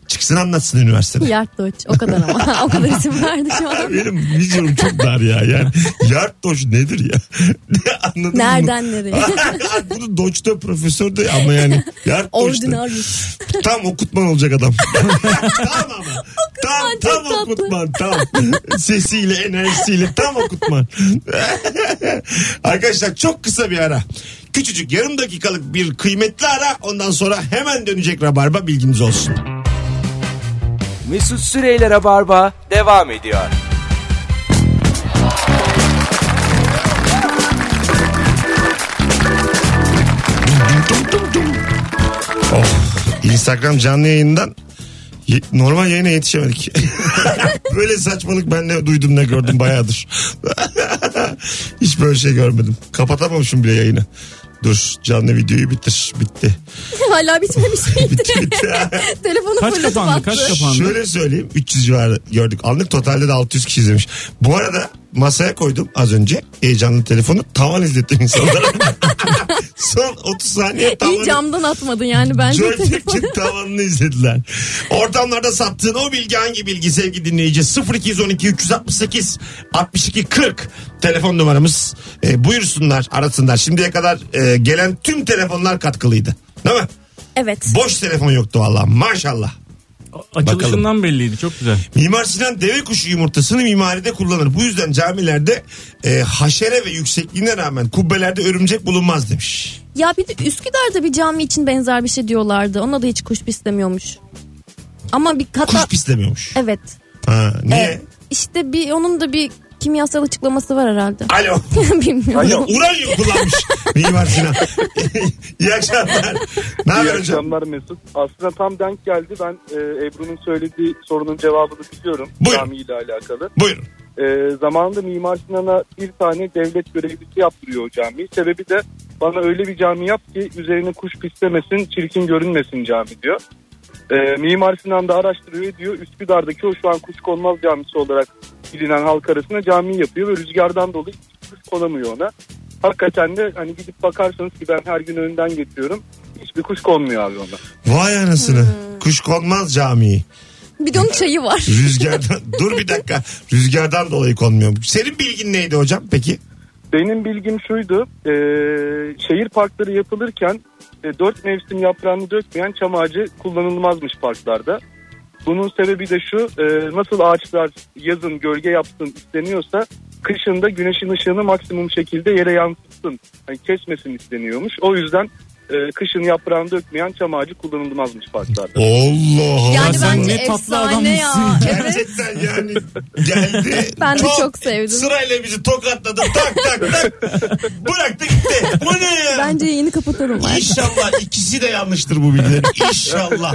Çıksın anlatsın üniversitede.
Yartoç. O kadar ama. *laughs* o kadar isim verdi şu an.
Benim vizyonum çok dar ya. Yani yarttaş nedir ya? *laughs* Ne anladın mı?
Nereden nereye?
*laughs* Bunu doçta profesör de ama yani. Yarttaş'ta.
Ordinarius.
Tam okutman olacak
*laughs*
adam. tam ama. Tam,
Okutman
tam
çok tatlı.
okutman tam. Sesiyle enerjisiyle
*laughs*
tam okutman. Arkadaşlar çok kısa bir ara. Küçücük yarım dakikalık bir kıymetli ara. Ondan sonra hemen dönecek Rabarba bilginiz olsun.
Mesut Süreyler'e barba devam ediyor.
Instagram canlı yayından ye- normal yayına yetişemedik. *laughs* böyle saçmalık ben ne duydum ne gördüm bayağıdır. *laughs* Hiç böyle şey görmedim. Kapatamamışım bile yayını. Dur canlı videoyu bitir. Bitti.
*laughs* Hala bitmemiş
*laughs*
miydi? *laughs* Telefonu
Kaç
fırlatıp
kapandı,
attı.
kaç kapandı?
Şöyle söyleyeyim 300 civarı gördük. Anlık totalde de 600 kişi izlemiş. Bu arada masaya koydum az önce heyecanlı telefonu tavan izlettim insanlara. Son 30 saniye
İyi
tavan
camdan atmadın yani bence.
Joystick'in tavanını izlediler. Ortamlarda sattığın o bilgi hangi bilgi sevgili dinleyici? 0212 368 62 40 telefon numaramız. E, buyursunlar arasınlar. Şimdiye kadar e, gelen tüm telefonlar katkılıydı. Değil mi?
evet.
Boş telefon yoktu valla maşallah.
Açılışından belliydi çok güzel.
Mimar Sinan deve kuşu yumurtasını mimaride kullanır. Bu yüzden camilerde e, haşere ve yüksekliğine rağmen kubbelerde örümcek bulunmaz demiş.
Ya bir de Üsküdar'da bir cami için benzer bir şey diyorlardı. Ona da hiç kuş pislemiyormuş. Ama bir
Kuş
kata...
pislemiyormuş.
Evet.
Ha, niye?
Evet. İşte bir onun da bir kimyasal açıklaması var herhalde. *laughs*
Alo. Ya
Bilmiyorum.
uranyum Hani *laughs* kullanmış Mimar Sinan. *laughs* İyi akşamlar. Ne haber hocam?
Mesut. Aslında tam denk geldi. Ben e, Ebru'nun söylediği sorunun cevabını biliyorum.
Buyurun.
ile alakalı.
Buyurun.
e, zamanında Mimar Sinan'a bir tane devlet görevlisi yaptırıyor o camiyi. Sebebi de bana öyle bir cami yap ki üzerine kuş pislemesin, çirkin görünmesin cami diyor. E, Mimar Sinan da araştırıyor diyor. Üsküdar'daki o şu an kuş konmaz camisi olarak bilinen halk arasında cami yapıyor ve rüzgardan dolayı hiç kuş konamıyor ona. Hakikaten de hani gidip bakarsanız ki ben her gün önünden geçiyorum. Hiçbir kuş konmuyor abi ona.
Vay anasını. Kuş konmaz camii.
bir de onun çayı var.
Rüzgardan. *laughs* Dur bir dakika. Rüzgardan dolayı konmuyor. Senin bilgin neydi hocam peki?
Benim bilgim şuydu. e, şehir parkları yapılırken e, dört mevsim yaprağını dökmeyen çam ağacı kullanılmazmış parklarda. Bunun sebebi de şu. e, nasıl ağaçlar yazın gölge yapsın isteniyorsa kışın da güneşin ışığını maksimum şekilde yere yansıtsın. Hani kesmesin isteniyormuş. O yüzden
e, kışın yaprağını dökmeyen çam ağacı kullanılmazmış parklarda.
Allah
Yani
sen
bence
ne tatlı
efsane ya.
adammışsın.
*laughs* Evet.
Gerçekten yani *laughs* geldi.
Ben de çok sevdim.
Sırayla bizi tokatladı tak tak tak. Bıraktı gitti. Bu ne ya?
Bence yayını kapatalım. artık.
İnşallah ikisi de yanlıştır bu bilgiler. İnşallah.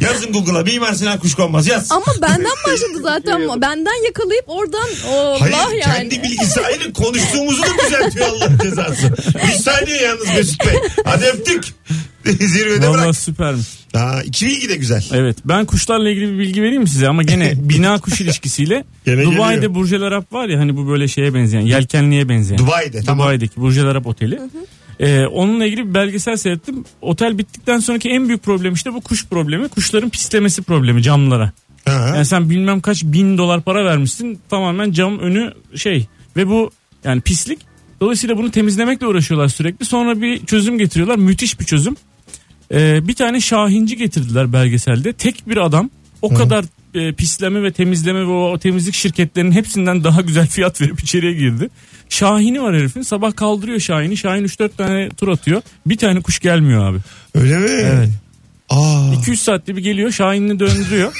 Yazın Google'a Mimar Sinan Kuşkonmaz yaz.
Ama benden başladı zaten. bu. Benden yakalayıp oradan Allah
Hayır
yani.
kendi bilgisi ayrı konuştuğumuzu da düzeltiyor Allah cezası. Bir saniye yalnız Mesut Bey. Hadi öptük. Zirvede
Valla
bırak.
süpermiş.
Aa, iki bilgi de güzel.
Evet ben kuşlarla ilgili bir bilgi vereyim mi size ama
*laughs*
gene bina kuş ilişkisiyle
Gene
Dubai'de
geliyor.
Burj El Arab var ya hani bu böyle şeye benzeyen yelkenliğe benzeyen.
Dubai'de tamam.
Dubai'deki Burj El Arab Oteli. Ee, onunla ilgili bir belgesel seyrettim. Otel bittikten sonraki en büyük problem işte bu kuş problemi. Kuşların pislemesi problemi camlara.
Ha.
Yani sen bilmem kaç bin dolar para vermişsin tamamen cam önü şey ve bu yani pislik. Dolayısıyla bunu temizlemekle uğraşıyorlar sürekli. Sonra bir çözüm getiriyorlar. Müthiş bir çözüm. Ee, bir tane şahinci getirdiler belgeselde. Tek bir adam o kadar e, pisleme ve temizleme ve o temizlik şirketlerinin hepsinden daha güzel fiyat verip içeriye girdi. Şahini var herifin. Sabah kaldırıyor Şahin'i. Şahin 3-4 tane tur atıyor. Bir tane kuş gelmiyor abi.
Öyle mi?
Evet.
Aa,
200 saatte bir geliyor. Şahin'i döndürüyor.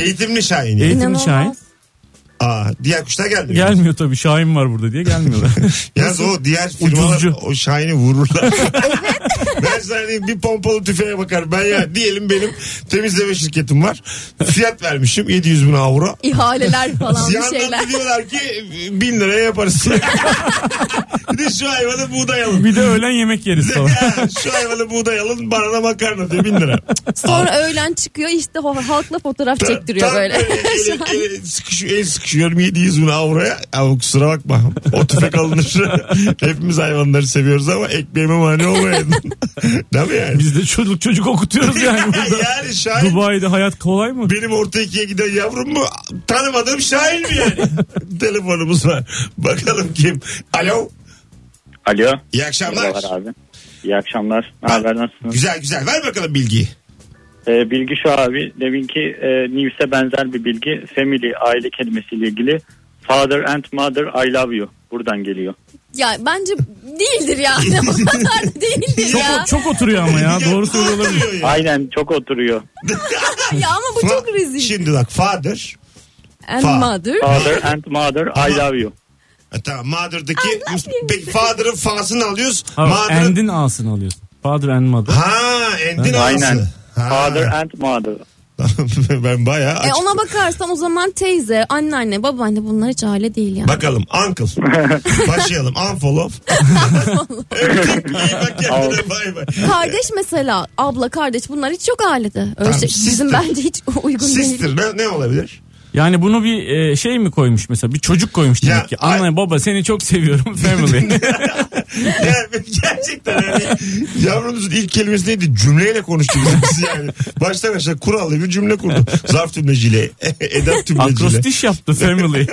eğitimli Şahin. ya.
Eğitim-
İnanılmaz.
Şahin.
Aa, diğer kuşlar geldi. mi?
Gelmiyor tabii. Şahin var burada diye gelmiyorlar.
Yalnız o diğer firmalar
Ucuzcu.
o Şahin'i vururlar. *laughs* ben sana diyeyim, bir pompalı tüfeğe bakar. Ben ya diyelim benim temizleme şirketim var. Fiyat vermişim 700 bin avro.
İhaleler falan bir
Yandan
şeyler.
da diyorlar ki bin
*laughs*
liraya yaparız. bir de şu hayvanı buğday alın.
Bir de öğlen yemek yeriz
*laughs*
falan.
Ya, şu hayvanı buğday alın bana da makarna diyor bin lira.
Sonra öğlen çıkıyor işte ho- halkla fotoğraf *laughs* çektiriyor
Tam
böyle. *laughs*
el, el, sıkışıyor, el sıkışıyorum 700 bin avroya. Ama kusura bakma o
*laughs*
tüfek alınır. Hepimiz hayvanları seviyoruz ama ekmeğime
*laughs*
mani olmayın. Değil mi yani?
Biz de çocuk çocuk okutuyoruz
*laughs*
yani burada.
yani şahin
Dubai'de hayat kolay mı?
benim orta ikiye giden yavrum mu? Tanımadığım şahin mi
*laughs*
yani? Telefonumuz var. Bakalım kim? Alo.
Alo.
İyi akşamlar.
abi. İyi akşamlar. Ne
Ben- haber,
nasılsınız?
Güzel güzel. Ver bakalım bilgiyi.
Ee, bilgi şu abi. Deminki e, News'e benzer bir bilgi. Family aile kelimesiyle ilgili. Father and mother I love you. Buradan geliyor.
Ya bence değildir yani. *laughs* O kadar da değildir
Çok,
ya.
çok oturuyor ama ya. Doğru söylüyor
*laughs*
olabilir.
Oturuyor ya.
Aynen çok oturuyor.
ya ama bu çok
Fa-
rezil.
Şimdi bak father.
And
Fa-
mother.
Father and mother I love you.
Ha, e, tamam mother'daki peki father'ın fasını alıyoruz.
Abi,
Mother'ın-
End'in A'sını alıyorsun. Father and mother.
Ha endin
Aynen.
ağası. Ha. *laughs*
Father and mother.
ben bayağı
E
açık.
ona bakarsan o zaman teyze, anneanne, babaanne bunlar hiç aile değil yani.
Bakalım uncle.
*laughs*
Başlayalım.
*laughs*
Unfollow. Öptük. İyi bak kendine. Bay bay.
Kardeş mesela, abla, kardeş bunlar hiç yok ailede. Öyle
Tamam,
şey, bizim
sister.
bence hiç uygun değil.
Sister ne, ne olabilir?
Yani bunu bir e, şey mi koymuş mesela? Bir çocuk koymuş demek
Ya,
ki. Anne baba seni çok
*laughs*
seviyorum family.
Yani gerçekten yani yavrumuzun ilk kelimesi neydi? Cümleyle konuştuk biz yani. Baştan aşağı kurallı bir cümle kurdu. Zarf tümleciyle, *laughs* edep tümleciyle.
Akrostiş yaptı
*laughs*
family.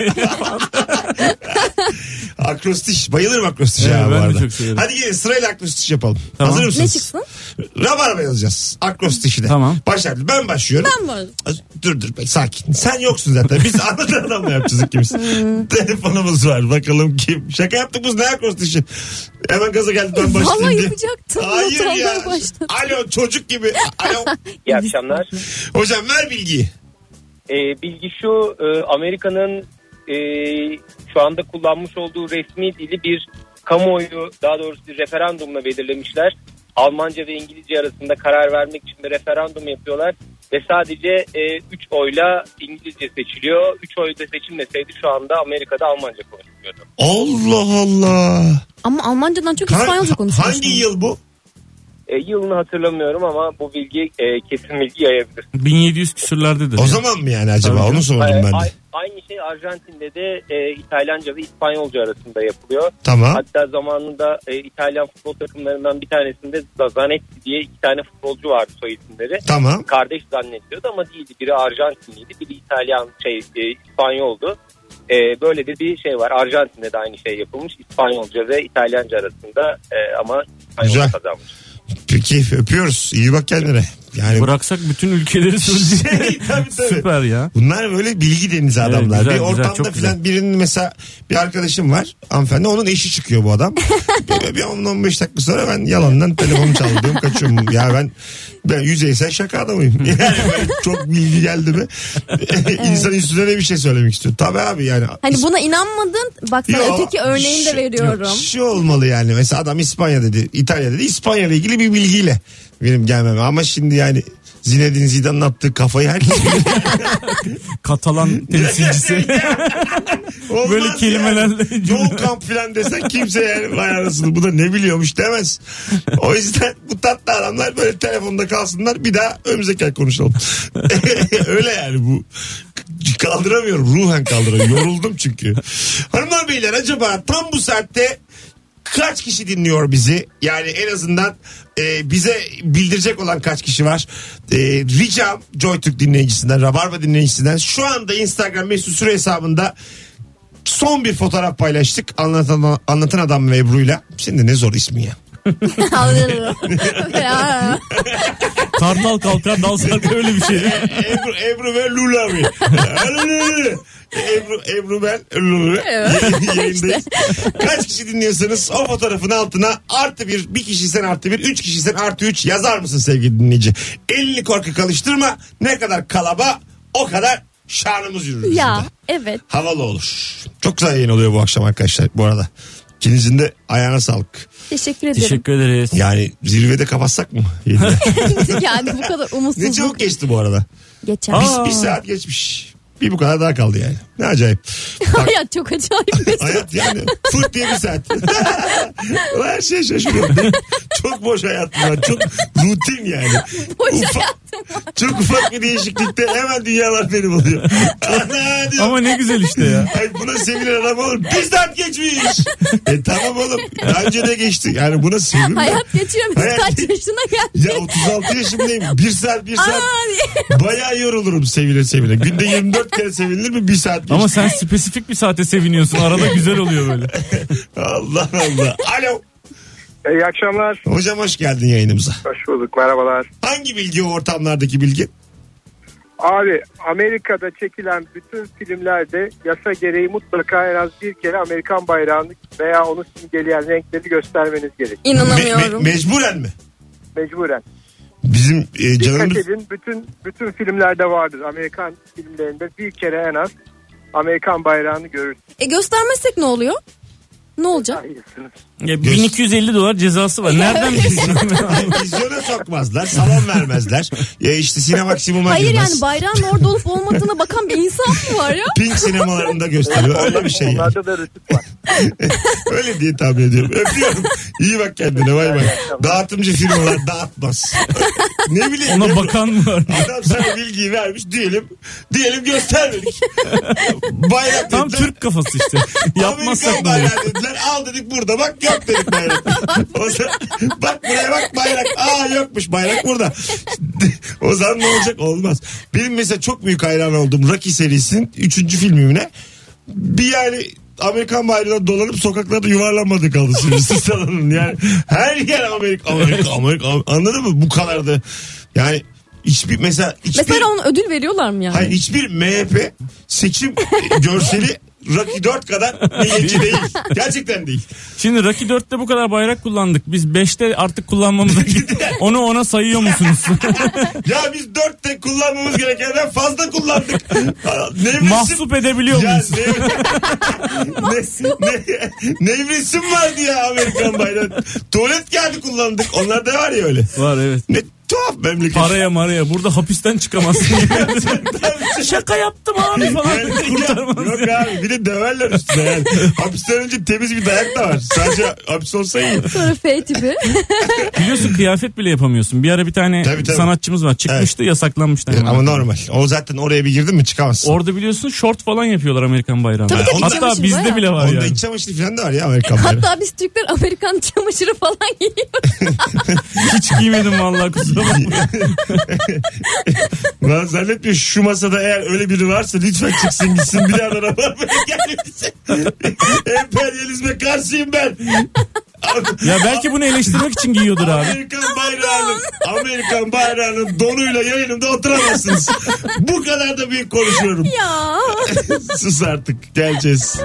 Akrostiş. Bayılırım akrostişe
Evet,
ya bu
ben de
arada.
çok seviyorum.
Hadi gelin sırayla akrostiş yapalım.
Tamam.
Hazır
Ne
mısınız?
çıksın?
Rabarba yazacağız. Akrostişine.
Tamam.
Baş harfli. Ben başlıyorum.
Ben bu arada.
Dur dur bek, sakin. Sen yoksun zaten. Biz *laughs* anlatan adamla yapacağız ikimiz.
Hmm.
Telefonumuz var. Bakalım kim. Şaka yaptık biz ne akrostişi. Hemen gaza geldi ben başlayayım
Vallahi
diye.
yapacaktım.
Hayır
Not
ya.
almaya başladım.
Alo çocuk gibi. Alo.
İyi akşamlar.
Hocam ver bilgiyi.
Ee, bilgi şu e, Amerika'nın e, şu anda kullanmış olduğu resmi dili bir kamuoyu daha doğrusu bir referandumla belirlemişler. Almanca ve İngilizce arasında karar vermek için bir referandum yapıyorlar ve sadece 3 oyla İngilizce seçiliyor. 3 oy da seçilmeseydi şu anda Amerika'da Almanca konuşuluyordu.
Allah Allah.
Ama Almancadan çok
Ha-
İspanyolca konuşuyorsun.
hangi yıl bu?
E, yılını hatırlamıyorum ama bu bilgi e, kesin bilgi yayabilir.
1700 küsürlerdedir.
O
ya.
zaman mı yani acaba?
Tabii
Onu sordum
Ay-
ben de.
ay- E, aynı şey Arjantin'de de e, İtalyanca ve İspanyolca arasında yapılıyor.
Tamam.
Hatta zamanında e, İtalyan futbol takımlarından bir tanesinde Zanetti diye iki tane futbolcu vardı soy isimleri.
Tamam.
Kardeş zannediyordu ama değildi. Biri Arjantinliydi, biri İtalyan şey e, İspanyoldu. E, böyle de bir şey var. Arjantin'de de aynı şey yapılmış. İspanyolca ve İtalyanca arasında e, ama İspanyolca
Güzel.
kazanmış.
Peki öpüyoruz. İyi bak kendine. Yani
Bıraksak bütün ülkeleri söyleyecek.
şey, tabii, tabii.
Süper ya.
Bunlar böyle bilgi denizi adamlar.
güzel,
bir
güzel,
ortamda
çok güzel.
filan birinin mesela bir arkadaşım var hanımefendi onun eşi çıkıyor
*laughs*
bu adam. Böyle bir 10-15 dakika sonra ben yalandan telefonum çaldı diyorum kaçıyorum. Ya ben ben yüzeysel şaka adamıyım.
*laughs*
Yani böyle çok bilgi geldi mi insan üstüne de bir şey söylemek istiyor. Tabii abi yani.
Hani buna inanmadın. Bak sana
Yo,
öteki örneğini
şu-
de veriyorum.
yok,
*laughs*
Şu olmalı yani. Mesela adam İspanya dedi, İtalya dedi. İspanya ile ilgili bir bilgiyle benim gelmem. Ama şimdi yani Zinedine Zidane'ın attığı
*laughs*
kafayı herkes *laughs*
Katalan temsilcisi.
Olmaz
Böyle
yani.
kelimelerle
Yoğun kamp filan desen kimse yani vay anasını bu da ne biliyormuş demez. O yüzden bu tatlı adamlar böyle telefonda kalsınlar bir daha önümüzdeki ay konuşalım. *laughs* Öyle yani bu. Kaldıramıyorum ruhen kaldıramıyorum. Yoruldum çünkü. Hanımlar beyler acaba tam bu saatte kaç kişi dinliyor bizi? Yani en azından e, bize bildirecek olan kaç kişi var? E, ricam Joytürk dinleyicisinden, Rabarba dinleyicisinden şu anda Instagram mesut süre hesabında son bir fotoğraf paylaştık. Anlatan, anlatan adam ve Ebru'yla. Şimdi ne zor ismi ya.
Anladın
*laughs*
mı?
Kartal kalkar dal sarkar öyle bir şey.
Ebru, Ebru ve Lula abi. Ebru, Ebru ben Lula. Yayındayız. Kaç kişi dinliyorsanız o fotoğrafın altına artı bir, bir kişiysen artı bir, üç kişiysen artı üç yazar mısın sevgili dinleyici? Elini korku kalıştırma. Ne kadar kalaba o kadar şanımız yürür. bizim de.
ya evet.
Havalı olur. Çok güzel yayın oluyor bu akşam arkadaşlar bu arada. İkinizin de ayağına sağlık.
Teşekkür ederim.
Teşekkür ederiz.
Yani zirvede kapatsak mı? *laughs*
*laughs*
Yayını?
yani bu kadar
ne çabuk
umutsuzluk
geçti bu arada.
geçer.
Aa.
Bir saat geçmiş. Bir bu kadar daha kaldı yani.
*laughs*
Ne acayip.
*laughs*
Bak,
Hayat çok acayip. Mesut.
hayat yani fırt diye bir saat. *laughs* Ulan Her şey şaşırıyorum. *laughs* Çok boş hayatım var. Çok rutin yani.
*laughs* Boş
Ufak- Çok ufak bir değişiklikte hemen dünyalar benim
*laughs*
oluyor. Ana diyorum.
Ama ne güzel işte ya.
Ay buna sevilen adam olur. Bir saat geçmiş. E tamam oğlum. Daha önce de geçti. Yani buna sevinme.
Hayat geçiyor. Mesut
Hayat-
kaç yaşına geldi?
Ya 36 yaşındayım. Bir saat bir saat.
Aa, diye. *laughs*
Bayağı yorulurum sevile sevile. Günde 24 kere sevinilir mi? Bir saat geçti.
Ama sen spesifik bir saate seviniyorsun. Arada güzel oluyor böyle.
Allah Allah. Alo.
iyi akşamlar.
Hocam hoş geldin yayınımıza.
Hoş bulduk merhabalar.
Hangi bilgi o ortamlardaki bilgi?
Abi Amerika'da çekilen bütün filmlerde yasa gereği mutlaka en az bir kere Amerikan bayrağını veya onu simgeleyen renkleri göstermeniz gerek.
İnanamıyorum.
Me- me- mecburen mi?
Mecburen.
Bizim e,
Dikkat
canımız...
edin bütün, bütün filmlerde vardır. Amerikan filmlerinde bir kere en az Amerikan bayrağını görürsünüz.
E göstermezsek ne oluyor? Ne olacak?
Hayırsınız.
Ya 1250 dolar cezası var. Nereden bilsin?
*laughs* Vizyona sokmazlar, salon vermezler. Ya işte sinema maksimuma
Hayır
girmez.
yani bayrağın orada olup olmadığına bakan bir insan mı var ya?
Pink sinemalarında gösteriyor. Öyle bir şey. yani.
Onlarda da rütüp var.
*laughs* Öyle diye tahmin ediyorum. Öpüyorum. İyi bak kendine bay bay. Dağıtımcı firmalar
*laughs*
dağıtmaz. ne bileyim.
Ona bakan mı var?
Adam sana bilgiyi vermiş diyelim. Diyelim göstermedik. Bayrak
Tam
dediler.
Türk kafası *laughs* işte. Yapmazsak
Amerikan
ne olur?
bayrağı dediler. Al dedik burada bak yok dedik bayrak. O zaman, bak buraya bak bayrak. Aa yokmuş bayrak burada. *laughs* o zaman ne olacak? Olmaz. Benim mesela çok büyük hayran oldum Rocky serisinin 3. filmine. Bir yani Amerikan bayrağına dolanıp sokaklarda yuvarlanmadı kaldı sürücüsü *laughs* salonun. Yani her yer Amerika, Amerika, Amerika. Anladın mı? Bu kadar da. Yani hiçbir mesela hiçbir...
Mesela ona ödül veriyorlar mı yani?
Hayır hiçbir MHP seçim görseli Rocky 4 kadar milliyetçi değil. Gerçekten değil.
Şimdi Rocky 4'te bu kadar bayrak kullandık. Biz 5'te artık *laughs* kullanmamıza Onu ona sayıyor *laughs* musunuz?
Ya biz 4'te kullanmamız gerekenden fazla kullandık. Aa, Nevresim.
Mahsup edebiliyor
Ya
muyuz?
ne, ne, ne, nevresim vardı ya Amerikan bayrağı. Tuvalet kağıdı kullandık. Onlar da var ya öyle.
Var evet.
Ne tuhaf memleket. *laughs*
Paraya maraya. Burada hapisten *laughs* çıkamazsın. Şaka yaptım abi falan.
Yani
Kurtarmaz.
şey- Yok abi bir de döverler üstüne yani. Hapisten önce temiz bir dayak da var. Sadece hapis olsa iyi.
Sonra F tipi.
Biliyorsun kıyafet bile yapamıyorsun. Bir ara bir tane
Tabii, tabii.
sanatçımız var. Çıkmıştı yasaklanmıştı. hemen.
Ama normal. O zaten oraya bir girdin mi çıkamazsın.
Orada biliyorsun şort falan yapıyorlar Amerikan bayrağına.
Tabii, tabii,
Hatta
çamaşır
bizde
bayağı.
bile var
Onda
yani.
iç çamaşırı falan da var
*laughs*
ya Amerikan bayrağı.
Hatta biz Türkler Amerikan çamaşırı falan giyiyoruz.
*laughs* Hiç giymedim vallahi kusura kusura bakma.
Ben zannetmiyorum şu masada eğer öyle biri varsa lütfen çıksın gitsin bir daha da Rabarba'ya gelmesin. Emperyalizme karşıyım ben.
ya belki bunu eleştirmek için giyiyordur abi.
Amerikan bayrağının Amerikan bayrağının donuyla yayınımda oturamazsınız. Bu kadar da büyük konuşuyorum.
Ya.
Sus artık geleceğiz.